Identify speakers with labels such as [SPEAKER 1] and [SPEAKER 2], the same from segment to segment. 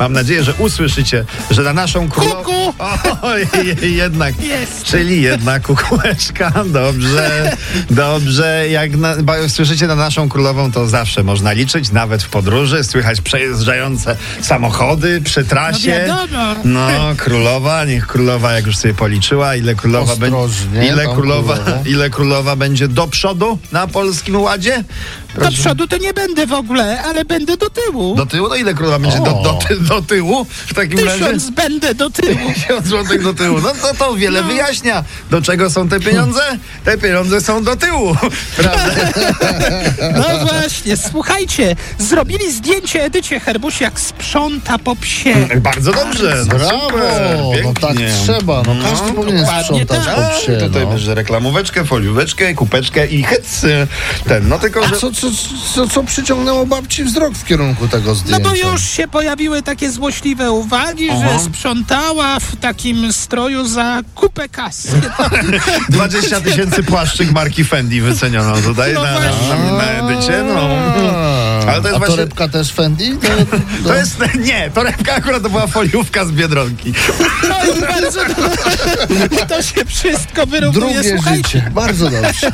[SPEAKER 1] Mam nadzieję, że usłyszycie, że na naszą królową...
[SPEAKER 2] Kuku!
[SPEAKER 1] O, je- jednak.
[SPEAKER 2] Jest.
[SPEAKER 1] Czyli jednak kukułeczka. Dobrze, dobrze. Jak na, ba- słyszycie na naszą królową, to zawsze można liczyć, nawet w podróży. Słychać przejeżdżające samochody przy trasie.
[SPEAKER 2] No wiadomo.
[SPEAKER 1] No, królowa, niech królowa, jak już sobie policzyła, ile królowa
[SPEAKER 3] Ostrożnie,
[SPEAKER 1] będzie. Ile
[SPEAKER 3] tam
[SPEAKER 1] królowa,
[SPEAKER 3] królowa.
[SPEAKER 1] ile królowa będzie do przodu na polskim ładzie?
[SPEAKER 2] Do przodu to nie będę w ogóle, ale będę do tyłu.
[SPEAKER 1] Do tyłu? No ile królowa będzie do, do, ty, do tyłu? W takim razie.
[SPEAKER 2] Tysiąc będę do tyłu.
[SPEAKER 1] 1000 złotych do tyłu. No to to wiele wyjaśnia. Do czego są te pieniądze? Te pieniądze są do tyłu. Prawda?
[SPEAKER 2] No właśnie, słuchajcie, zrobili zdjęcie Edycie Herbusz jak sprząta po psie.
[SPEAKER 1] Tak Bardzo dobrze. No
[SPEAKER 3] Brawo!
[SPEAKER 1] super,
[SPEAKER 3] no
[SPEAKER 1] pięknie.
[SPEAKER 3] tak trzeba. No każdy powinien
[SPEAKER 2] dokładnie
[SPEAKER 3] sprzątać
[SPEAKER 2] tak.
[SPEAKER 3] po
[SPEAKER 1] A,
[SPEAKER 3] psie.
[SPEAKER 1] tutaj
[SPEAKER 3] no.
[SPEAKER 1] będzie reklamóweczkę, folióweczkę, kupeczkę i hec. Ten, no tylko,
[SPEAKER 3] A
[SPEAKER 1] że...
[SPEAKER 3] co, co, co, co przyciągnęło babci wzrok w kierunku tego
[SPEAKER 2] No
[SPEAKER 3] zdjęcia?
[SPEAKER 2] bo już się pojawiły takie złośliwe uwagi,
[SPEAKER 1] Aha.
[SPEAKER 2] że sprzątała w takim stroju za kupę kasy.
[SPEAKER 1] 20 tysięcy płaszczyk marki Fendi wyceniono tutaj
[SPEAKER 2] No
[SPEAKER 1] na, na, na, na Edycie. No. Ale
[SPEAKER 3] Ale
[SPEAKER 1] to
[SPEAKER 3] to
[SPEAKER 1] jest
[SPEAKER 3] A
[SPEAKER 1] właśnie-
[SPEAKER 3] torebka też Fendi? To,
[SPEAKER 1] To jest, nie, torebka akurat to była foliówka z Biedronki.
[SPEAKER 2] To jest No bardzo dobre. To się wszystko wyrównuje.
[SPEAKER 3] drugie
[SPEAKER 2] Słuchajcie,
[SPEAKER 3] życie. Bardzo dobrze.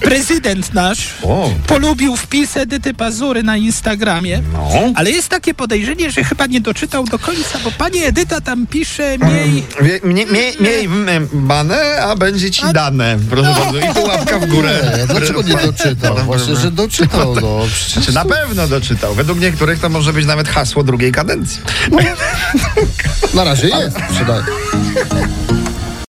[SPEAKER 2] prezydent nasz
[SPEAKER 1] O.
[SPEAKER 2] polubił wpis Edyty Pazury na Instagramie.
[SPEAKER 1] No.
[SPEAKER 2] Ale jest takie podejrzenie, że chyba nie doczytał do końca, bo pani Edyta tam pisze miej...
[SPEAKER 1] Wie- Mniej, mniej, mniej m- bane, a będzie ci dane. Proszę bardzo. I tu łapka w górę.
[SPEAKER 3] Nie, dlaczego nie doczytał? Właśnie, że doczytał. No, przecież
[SPEAKER 1] Czy na pewno doczytał? Według niektórych to może być nawet hasło drugiej kadencji.
[SPEAKER 3] na razie jest. Przydaje.